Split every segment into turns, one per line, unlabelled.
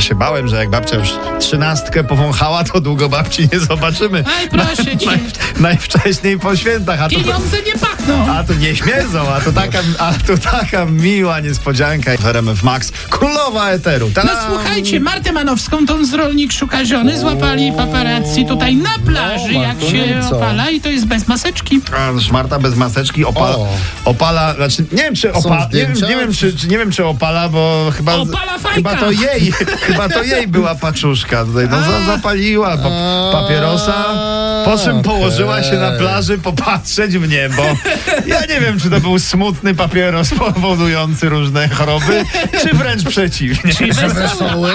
się bałem, że jak babcia już trzynastkę powąchała, to długo babci nie zobaczymy.
Aj, proszę cię.
Najwcześniej po świętach, a to,
Pieniądze nie pachną.
a to nie śmierdzą, a to taka, a to taka miła niespodzianka. W RMF Max, królowa eteru. Ta-dam!
No słuchajcie, Martę Manowską, tą z rolnik szuka żony, złapali paparazzi tutaj na plaży, jak się
Martuleńco.
opala i to jest bez maseczki.
A, Szmarta bez maseczki opala,
O.
opala znaczy nie wiem czy opala, nie, wiem-
zdjęcia?
nie, wiem, czy, czy, nie wiem czy opala, bo chyba,
Opala fajka!
chyba to jej, chyba to jej była paczuszka tutaj, no za- zapaliła pa, papierosa, po czym
Okej.
położyła się na plaży popatrzeć w niebo. Ja nie wiem czy to był smutny papieros powodujący różne choroby, czy wręcz przeciwnie.
Wesoły?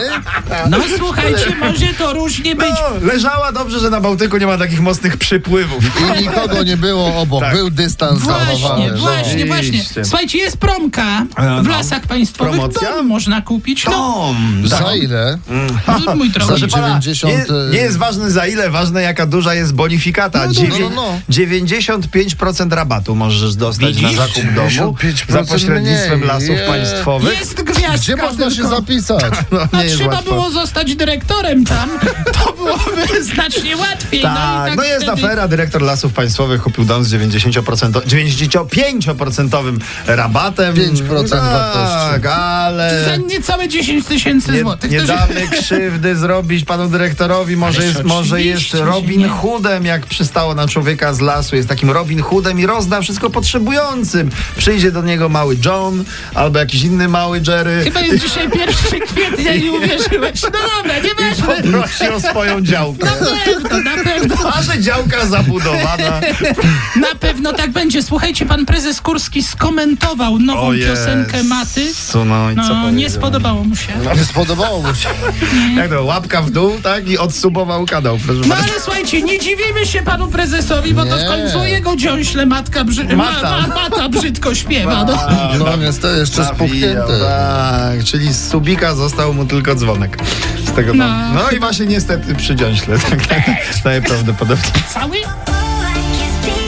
No słuchajcie, może to różnie być.
No, leżała dobrze, że na Bałtyku nie ma takich mocnych przypływów.
I nikogo nie było obok.
Tak.
Był dystans
Właśnie,
zachowany.
właśnie, właśnie.
Oczywiście.
Słuchajcie, jest promka
no.
w lasach państwowych.
Promocja?
Dom można kupić. No,
Tom,
Za
tak.
ile?
mój drogi.
Za-
Proszę pana,
90,
nie, nie jest ważne za ile, ważne jaka duża jest bonifikata.
No
Dziewię-
no, no, no.
95% rabatu możesz dostać
Widzisz?
na zakup domu
95%
za pośrednictwem
mniej.
lasów
Je.
państwowych.
Jest gwiazdka
Gdzie można się
tylko.
zapisać?
No,
No
nie jest
trzeba
łatwo.
było zostać dyrektorem tam. To byłoby znacznie łatwiej. no, i
Tak,
tak
no jest
wtedy...
afera. Dyrektor Lasów Państwowych kupił dom z 90%, 95% rabatem.
5%
Tak,
wartości.
Za
ale
niecałe 10 tysięcy
nie,
złotych.
nie
To się-
damy krzywdy zrobić panu dyrektorowi. Może
Ależ
jest, może jest
oczywiście, że
Robin
nie.
Hoodem, jak przystało na człowieka z lasu. Jest takim Robin Hoodem i rozda wszystko potrzebującym. Przyjdzie do niego mały John albo jakiś inny mały Jerry.
Chyba jest dzisiaj 1 kwietnia i uwierzyłeś. No dobra, nieważne.
Prosi o swoją działkę.
Na pewno, na pewno.
A że działka zabudowana.
Na pewno tak będzie. Słuchajcie, pan prezes Kurski skomentował nową
O Jezu,
piosenkę Maty.
No, i co
No, nie
powiedział?
spodobało mu się.
Ale spodobało mu się.
Jak to, łapka w dół, tak? I odsubował kanał, proszę
No
bardzo.
ale słuchajcie, nie dziwimy się panu prezesowi, bo to w
Nie.
końcu jego dziąśle matka brzy...
Mata.
ma, ma, mata brzydko śpiewa. No.
No niestety jeszcze
Zawijał,
spuchnięte.
Tak, czyli z subika został mu tylko dzwonek. Z tego
No.
no, no i właśnie niestety przy dziąśle, tak, tak najprawdopodobniej.
Cały?
I can see